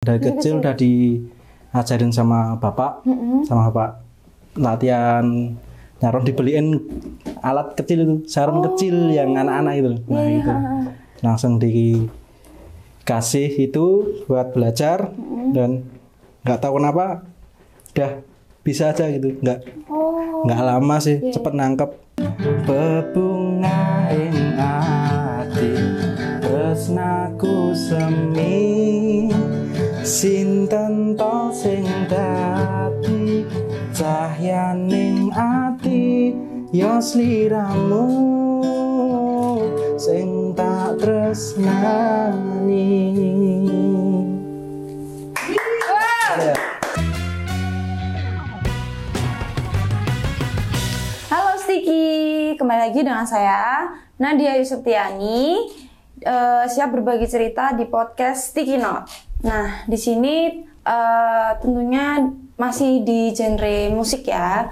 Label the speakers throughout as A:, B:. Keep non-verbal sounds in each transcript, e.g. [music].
A: dari kecil udah diajarin sama bapak
B: Mm-mm.
A: sama bapak latihan nyaron dibeliin alat kecil itu sarung kecil yang anak-anak itu nah
B: Oh. Iya,
A: itu
B: ha-ha.
A: langsung dikasih itu buat belajar dan nggak tahu kenapa udah bisa aja gitu nggak
B: Oh.
A: nggak lama sih cepet nangkep bebungain ati tresnaku semi sinten to sing dadi cahyaning ati yo sliramu sing tak tresnani
B: Halo Stiki, kembali lagi dengan saya Nadia Yusuptiani Eh, siap berbagi cerita di podcast Sticky Note. Nah, di sini eh, tentunya masih di genre musik ya.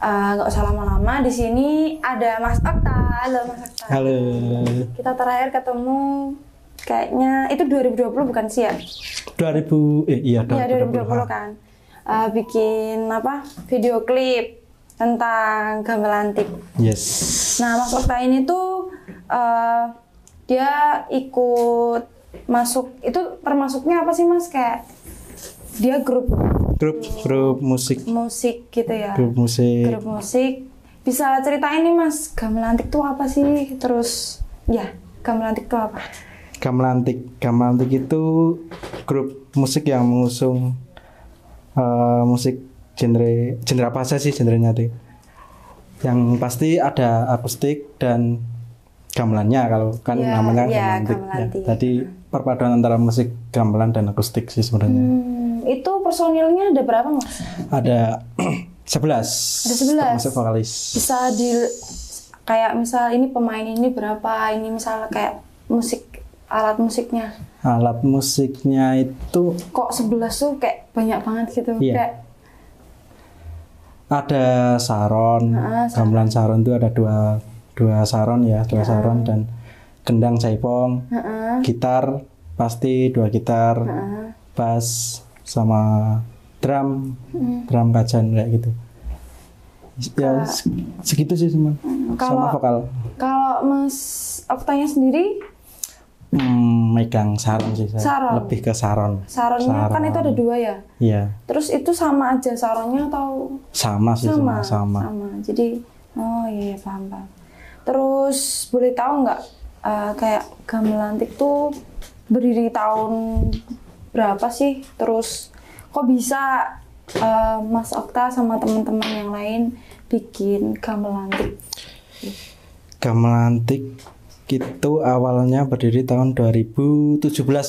B: Eh, Nggak usah lama-lama. Di sini ada Mas Okta. Halo Mas Okta.
A: halo
B: Kita terakhir ketemu kayaknya itu 2020 bukan sih ya?
A: 2000 eh iya
B: Iya 2020
A: 2020
B: kan Eh, bikin apa video klip tentang gamelantik.
A: yes
B: Nah Mas Okta ini tuh eh, dia ikut masuk itu termasuknya apa sih Mas kayak dia grup
A: grup grup musik
B: musik gitu ya
A: grup musik
B: grup musik bisa ceritain nih Mas gamelantik tuh apa sih terus ya gamelantik tuh apa?
A: gamelantik gamelantik itu grup musik yang mengusung eh, musik genre genre apa saja sih genrenya tuh yang pasti ada akustik dan gamelannya kalau kan
B: Iya,
A: namanya
B: iya,
A: gamelantik ya.
B: gamelantik.
A: tadi perpaduan antara musik gamelan dan akustik sih sebenarnya
B: Hmm, itu personilnya ada berapa Mas?
A: ada [clears throat] 11
B: Ada 11.
A: termasuk vokalis
B: bisa di kayak misal ini pemain ini berapa ini misal kayak musik alat musiknya
A: alat musiknya itu
B: kok 11 tuh kayak banyak banget gitu
A: Iya.
B: kayak
A: ada saron,
B: Ah, saron. Ah.
A: gamelan saron itu ada dua dua saron ya, dua saron dan kendang jaipong,
B: heeh,
A: gitar pasti dua gitar,
B: heeh.
A: bass sama drum,
B: Hmm.
A: drum kajan kayak gitu. Ya se- segitu sih semua, sama
B: Kalau-
A: vokal.
B: kalau mas Oktanya sendiri
A: Hmm, megang saron sih saya,
B: Saron.
A: lebih ke saron.
B: saronnya
A: Saron.
B: kan itu ada dua ya
A: Iya,
B: terus itu sama aja saronnya atau
A: sama sih
B: sama
A: semua, sama.
B: jadi oh iya iya, paham paham terus boleh tahu nggak eh, kayak gamelantik tuh berdiri tahun berapa sih terus kok bisa eh, Mas Okta sama teman-teman yang lain bikin gamelantik
A: Gamelantik itu awalnya berdiri tahun 2017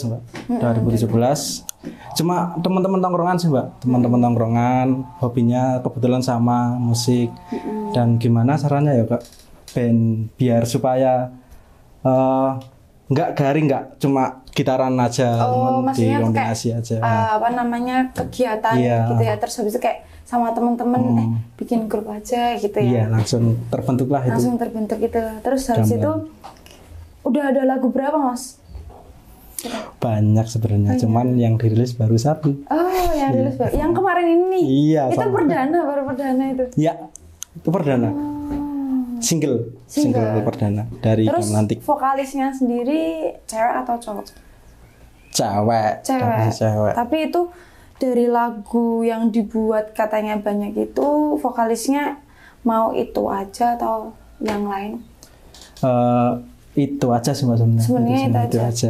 A: mbak 2017 cuma teman-teman tongkrongan sih mbak teman-teman tongkrongan hobinya kebetulan sama musik dan gimana sarannya ya kak band biar supaya eh, nggak garing nggak cuma gitaran aja cuman
B: oh maksudnya tuh kayak
A: dikombinasi aja
B: eh, apa namanya kegiatan
A: Iya. Hmm.
B: gitu ya terus habis itu kayak sama teman-teman eh bikin grup aja gitu ya
A: iya langsung terbentuklah itu
B: langsung terbentuk gitu terus habis itu udah ada lagu berapa mas
A: banyak sebenarnya
B: iya.
A: cuman yang dirilis baru satu
B: oh yang rilis baru yang kemarin ini
A: Iya,
B: itu
A: sama.
B: perdana baru perdana itu
A: Ya, itu
B: Oh.
A: perdana. Single, single, perdana dari
B: terus
A: Gamelantik.
B: vokalisnya sendiri cewek atau cowok
A: Cewek,
B: cewek.
A: tapi cewek.
B: tapi itu dari lagu yang dibuat katanya banyak itu vokalisnya mau itu aja atau yang lain
A: Eh, itu aja sih Mbak sebenarnya.
B: Sebenarnya
A: sih,
B: itu aja. Oh.
A: aja.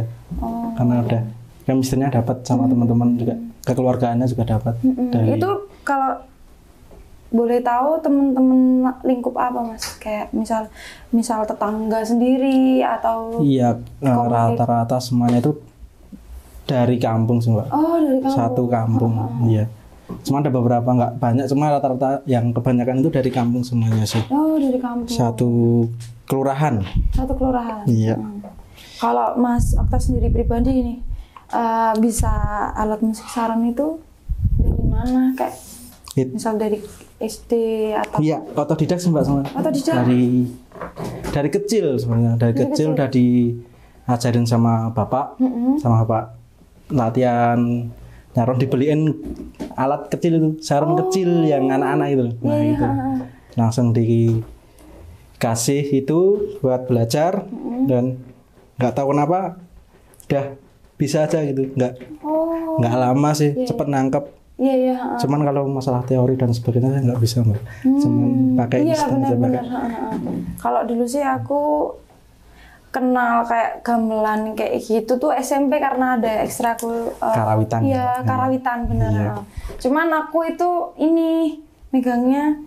A: Karena udah chemistry-nya dapat sama teman-teman juga, kekeluargaannya juga dapat dari
B: Hmm. itu kalau boleh tahu temen-temen lingkup apa mas kayak misal misal tetangga sendiri atau
A: Iya, eh, rata-rata semuanya itu dari kampung sih Mbak.
B: oh dari Oh, kamu
A: Satu kampung, iya. Cuma ada beberapa nggak banyak, cuma rata-rata yang kebanyakan itu dari kampung semuanya sih.
B: oh dari kampung
A: Satu kelurahan.
B: satu kelurahan Hmm.
A: Iya.
B: kalau mas Okta sendiri pribadi ini eh, bisa alat musik saran itu dari mana kayak
A: It-
B: misal dari SD atau
A: Iya, otodidak sih mbak semua.
B: Otodidak.
A: Dari dari kecil sebenarnya, dari kecil Hmm. udah diajarin sama bapak, sama bapak latihan nyaron dibeliin alat kecil itu sarung kecil yang anak-anak itu nah itu langsung dikasih itu buat belajar dan nggak tahu kenapa udah bisa aja gitu nggak
B: Oh,
A: nggak lama sih cepet nangkep
B: iya iya.
A: cuman kalau masalah teori dan sebagainya saya nggak bisa mbak cuman pakai
B: Iya
A: instan aja pakai
B: benar-benar. ha, ha, ha. Kalau dulu sih aku kenal kayak gamelan kayak gitu tuh SMP karena ada ekstrakul eh,
A: Karawitan.
B: Iya,
A: Ya. Iya.
B: karawitan bener. ha. Cuman aku itu ini megangnya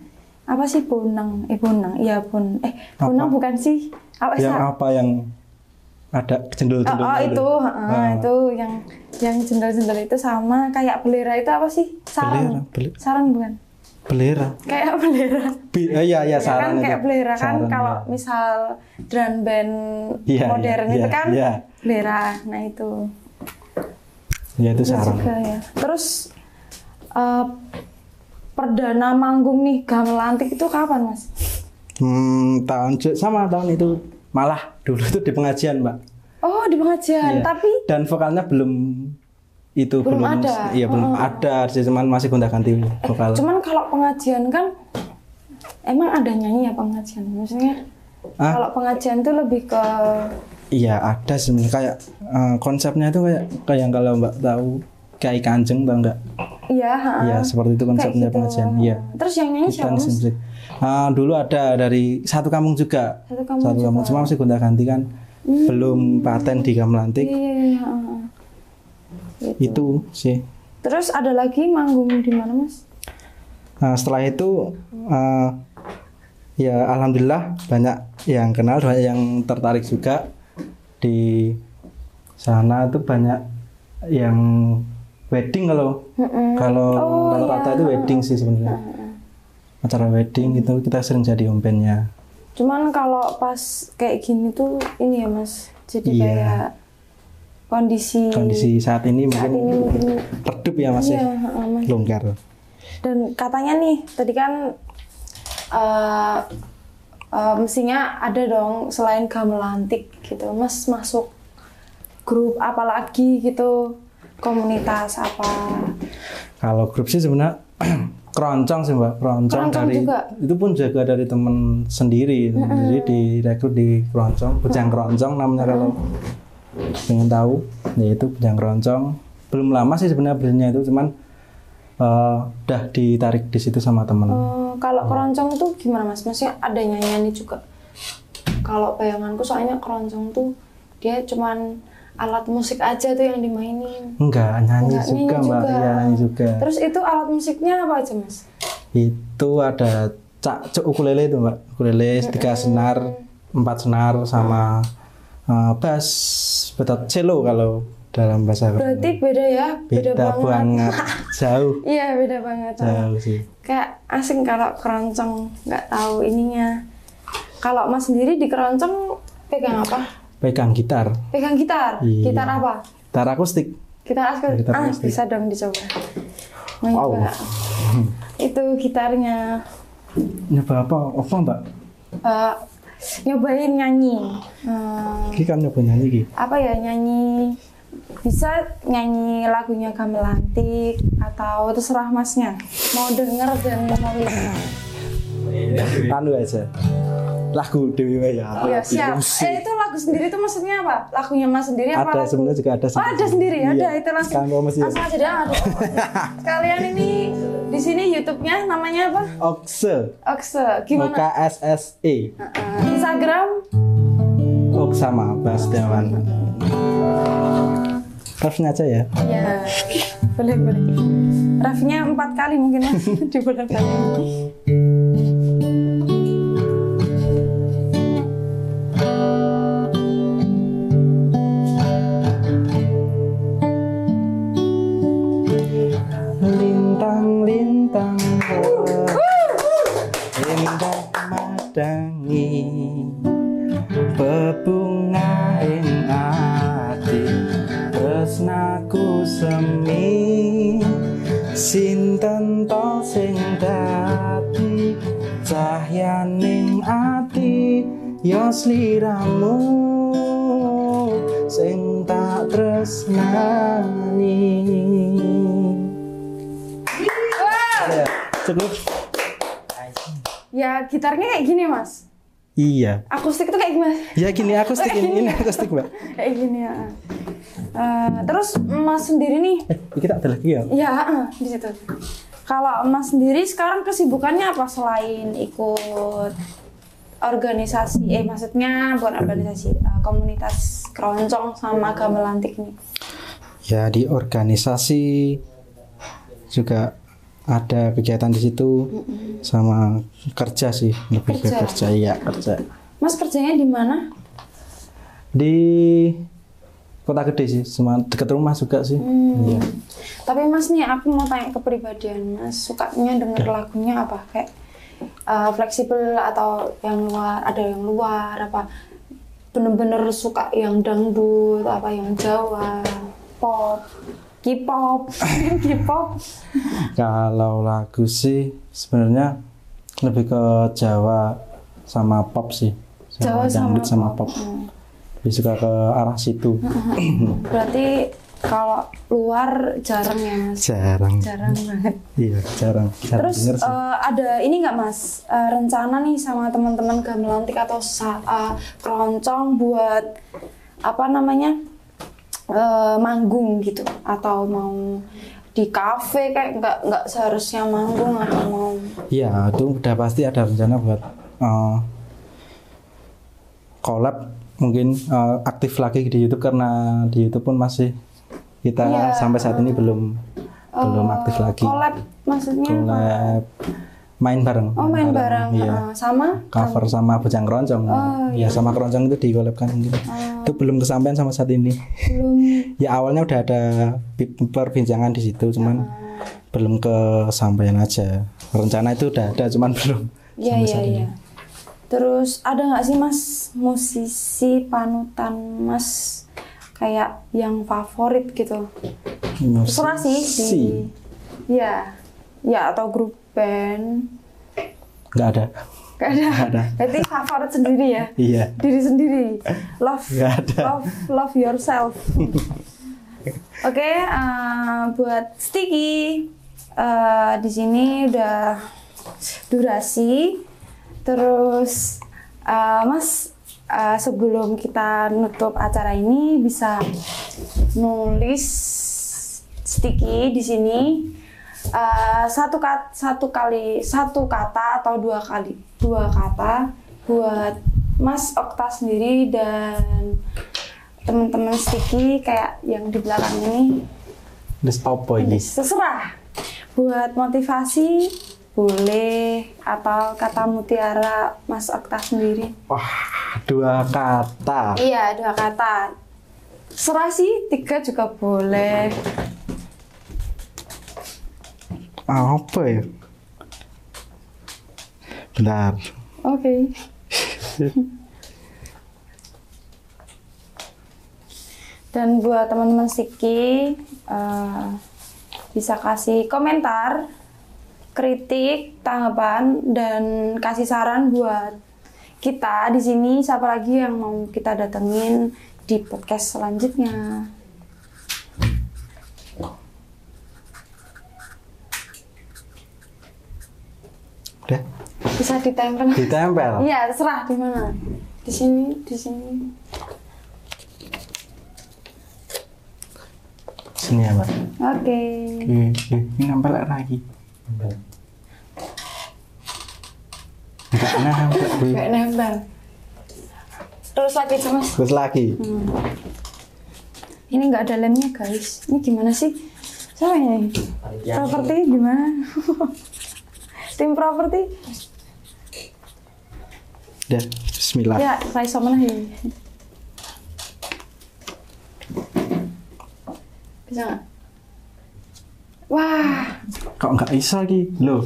B: apa sih bonang? Eh bonang, iya bon. Eh
A: Apa?
B: bonang bukan sih? Apa
A: yang
B: sa-
A: apa yang ada cendol
B: Oh,
A: cendol
B: oh, itu, ha,
A: Ah.
B: ha, itu yang yang jendel-jendel itu sama kayak belera itu apa sih? Sarang.
A: Belera, bel-
B: Sarang bukan?
A: belera
B: Kayak [laughs] belera.
A: Bi- eh, iya iya
B: Ya kan
A: saran
B: kayak
A: itu.
B: belera kan
A: Saran,
B: kalau
A: iya.
B: misal drum band
A: Iya,
B: modern
A: iya,
B: itu kan
A: iya.
B: belera nah itu
A: ya itu
B: Itu
A: saran
B: juga ya terus eh, perdana manggung nih gamelantik itu kapan mas
A: hmm, tahun ju- sama tahun itu malah dulu tuh di pengajian mbak
B: oh di pengajian
A: Iya.
B: tapi eh,
A: dan vokalnya belum itu
B: Belum
A: belum,
B: ada. Oh.
A: iya
B: Eh,
A: belum ada sih, cuman masih gonta ganti vokal
B: cuman kalau pengajian kan emang ada nyanyi ya pengajian maksudnya
A: Ah.
B: kalau pengajian tuh lebih ke
A: Iya ada sebenarnya kayak eh, konsepnya itu kayak kayak yang kalau Mbak tahu Kiai Kanjeng tau nggak?
B: ya ha,
A: Iya seperti itu
B: kayak
A: konsepnya
B: gitu.
A: pengajian. Iya.
B: terus yang nyanyi
A: Kita
B: siapa mas
A: musik. Ah, dulu ada dari satu kampung juga.
B: Satu Kampung Hmm.
A: satu kampung cuma masih gonta ganti kan. Belum paten di
B: iya
A: Gamelantik.
B: iya iya ha, ha.
A: Itu sih.
B: Terus ada lagi manggung di mana mas?
A: Nah, setelah itu eh, ya alhamdulillah banyak yang kenal, banyak yang tertarik juga di sana itu banyak yang wedding kalau
B: Mm-mm.
A: kalau
B: Oh,
A: rata-rata
B: iya. ah,
A: itu wedding sih sebenarnya acara wedding itu kita sering jadi ompennya
B: Cuman kalau pas kayak gini tuh ini ya mas, jadi
A: Iya.
B: kayak kondisi,
A: kondisi saat ini
B: Hmm. saat
A: mungkin
B: ini mungkin
A: redup ya masih
B: iya, heeh, Mas.
A: longgar
B: Dan katanya nih tadi kan eh, eh, mestinya ada dong selain gamelantik gitu, mas masuk grup apa lagi gitu komunitas apa
A: kalau grup sih sebenarnya [clears throat] keroncong sih mbak keroncong,
B: Keroncong
A: dari
B: juga?
A: itu pun juga dari temen sendiri jadi direkrut di keroncong bujang keroncong namanya kalau pengen tahu yaitu bujang keroncong belum lama sih sebenarnya belinya itu cuman eh, udah ditarik di situ sama temen
B: Oh, kalau keroncong tuh gimana mas? Maksudnya ada nyanyiannya juga? Kalau bayanganku soalnya keroncong tuh dia cuman alat musik aja tuh yang dimainin.
A: enggak nyanyi
B: Enggak,
A: juga
B: nyanyi
A: mbak
B: juga.
A: Iya, nyanyi juga
B: Terus itu alat musiknya apa aja mas?
A: itu ada cak cuk ukulele itu mbak ukulele tiga senar empat senar sama eh, bass betot cello kalau dalam bahasa
B: Berarti beda ya? Beda,
A: beda
B: [laughs]
A: banget jauh
B: Iya beda banget.
A: jauh sih
B: Kayak asing kalau keroncong nggak tahu ininya. Kalau mas sendiri di keroncong pegang apa?
A: pegang gitar
B: Pegang gitar.
A: Iya.
B: Gitar apa?
A: gitar akustik
B: Gitar akustik.
A: Gitar
B: ah,
A: akustik.
B: bisa dong dicoba. Mau
A: Wow.
B: nyoba. Itu gitarnya
A: nyoba apa apa mbak
B: eh, nyobain nyanyi. Eh,
A: ini kan nyoba nyanyi gitu
B: apa ya nyanyi bisa nyanyi lagunya Gamelantik atau terserah masnya mau denger dan mau lihat.
A: anu aja lagu dewi ya
B: Iya siap.
A: Musik.
B: Eh itu lagu sendiri itu maksudnya apa? Lagunya mas sendiri apa?
A: ada
B: lagu-
A: sebenarnya juga ada
B: Oh, ada sendiri, ada itu langsung.
A: kan masih
B: Langsung aja dah.
A: [laughs]
B: ada. Kalian ini di sini YouTube-nya namanya apa?
A: Okse
B: Okse. Gimana?
A: K S S E
B: Uh, Instagram
A: Ok sama Mas Dewan. Refnya aja ya.
B: ya boleh boleh rafnya empat kali mungkin mas [laughs] di bulan kali
A: Lintang lintang indah madangi bebungain ati tresnaku semi sinten to sing dadi cahyaning ati yo sliramu sing tak tresnani Cukup.
B: Ya gitarnya kayak gini mas.
A: Iya.
B: Akustik tuh kayak gimana?
A: Ya gini akustik ini, ini akustik mbak.
B: Kayak gini ya. Eh, terus mas sendiri nih,
A: Eh, ini tak ada lagi ya.
B: ya eh, di situ. Kalau mas sendiri sekarang kesibukannya apa selain ikut organisasi? Eh maksudnya bukan organisasi, eh, komunitas keroncong sama gamelantik nih.
A: Ya di organisasi juga ada kegiatan di situ sama kerja sih lebih ke kerja
B: Kerja.
A: iya kerja
B: Mas kerjanya di mana?
A: di kota gede sih cuma dekat rumah juga sih iya
B: Hmm. Tapi Mas nih aku mau tanya kepribadian Mas sukanya
A: Ya.
B: denger lagunya apa kayak eh, fleksibel atau yang luar ada yang luar apa bener-bener suka yang dangdut apa yang Jawa pop K-pop [laughs] K-pop
A: kalau lagu sih sebenarnya lebih ke Jawa sama pop sih sama
B: Jawa sama Hmm.
A: dangdut sama pop lebih suka ke arah situ
B: berarti kalau luar jarang ya Mas
A: jarang
B: jarang banget
A: iya jarang jarang
B: Terus
A: denger sih.
B: eh, ada ini nggak mas Eh, rencana nih sama teman-teman gamelantik atau sa- eh, keroncong buat apa namanya eh, manggung gitu atau mau di kafe kayak nggak nggak seharusnya manggung atau mau
A: Iya, itu udah pasti ada rencana buat eh collab mungkin eh, aktif lagi di YouTube karena di YouTube pun masih kita
B: Iya.
A: sampai saat ini belum belum
B: eh,
A: aktif lagi.
B: collab maksudnya apa?
A: Collab main bareng.
B: oh main bareng Oh,
A: Iya.
B: eh, sama
A: Cover sama Bujang Keroncong.
B: iya.
A: ya sama Keroncong itu di collab kan mungkin.
B: Ah.
A: Itu belum kesampaian sama saat ini.
B: belum
A: Ya awalnya udah ada bi- perbincangan di situ cuman belum kesampaian aja. Rencana itu udah ada cuman [laughs] belum
B: Iya iya iya. Terus ada nggak sih mas musisi panutan mas kayak yang favorit gitu? Terserah sih di.
A: Musisi.
B: Iya. Ya atau grup band.
A: nggak ada
B: Gak ada.
A: Nggak ada.
B: Berarti favorit sendiri ya.
A: [laughs] iya
B: Diri sendiri. Love.
A: Nggak ada.
B: Love love
A: [laughs]
B: yourself. Oke, eh, buat Sticky eh, di sini udah durasi. Terus eh, Mas eh, sebelum kita nutup acara ini bisa nulis Sticky di sini eh, satu kat satu kali satu kata atau dua kali dua kata buat Mas Okta sendiri dan teman-teman Sticky kayak yang di belakang ini
A: Terus apa ini
B: Terserah. Buat motivasi boleh atau kata mutiara Mas Okta sendiri.
A: wah dua kata
B: Iya, dua kata. Serah sih, tiga juga boleh.
A: apa ya benar
B: Oke. Dan buat teman-teman Siki eh, bisa kasih komentar, kritik, tanggapan dan kasih saran buat kita di sini siapa lagi yang mau kita datengin di podcast selanjutnya.
A: udah
B: Bisa ditempel.
A: ditempel
B: Iya, terserah di mana. Di sini, di sini.
A: sini ya mbak Iya,
B: Oke.
A: ini nempel lagi nggak nempel Bu.
B: Kayak nempel. Terus lagi mas.
A: terus lagi
B: Ini nggak ada lemnya guys. Ini gimana sih? Siapa ini? Properti gimana? [laughs] Tim properti?
A: udah Bismillah
B: Ya, saya sama ya. Bisa nggak? Wah,
A: kok nggak bisa lagi lo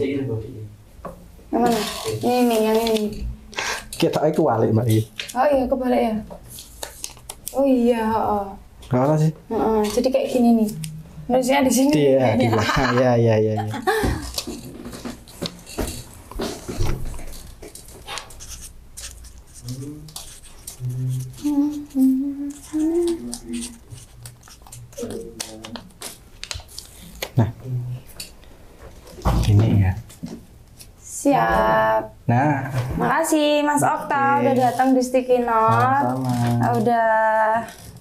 B: yang mana? Ini, ini, yang ini.
A: kita itu walik mbak ini
B: Oh iya, kebalik ya. Oh iya. oh.
A: nggak apa sih
B: Heeh, jadi kayak gini nih. Nulisnya di sini.
A: iya
B: Iya.
A: iya iya iya iya nah ini ya
B: Siap.
A: Nah,
B: Makasih Mas Okta udah datang di Sticky Note.
A: Sama-sama.
B: Udah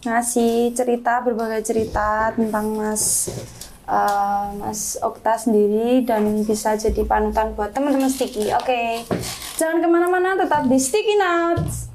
B: ngasih cerita berbagai cerita tentang Mas eh, Mas Okta sendiri dan bisa jadi panutan buat teman-teman Sticky. Oke. Jangan kemana-mana, tetap di Sticky Notes.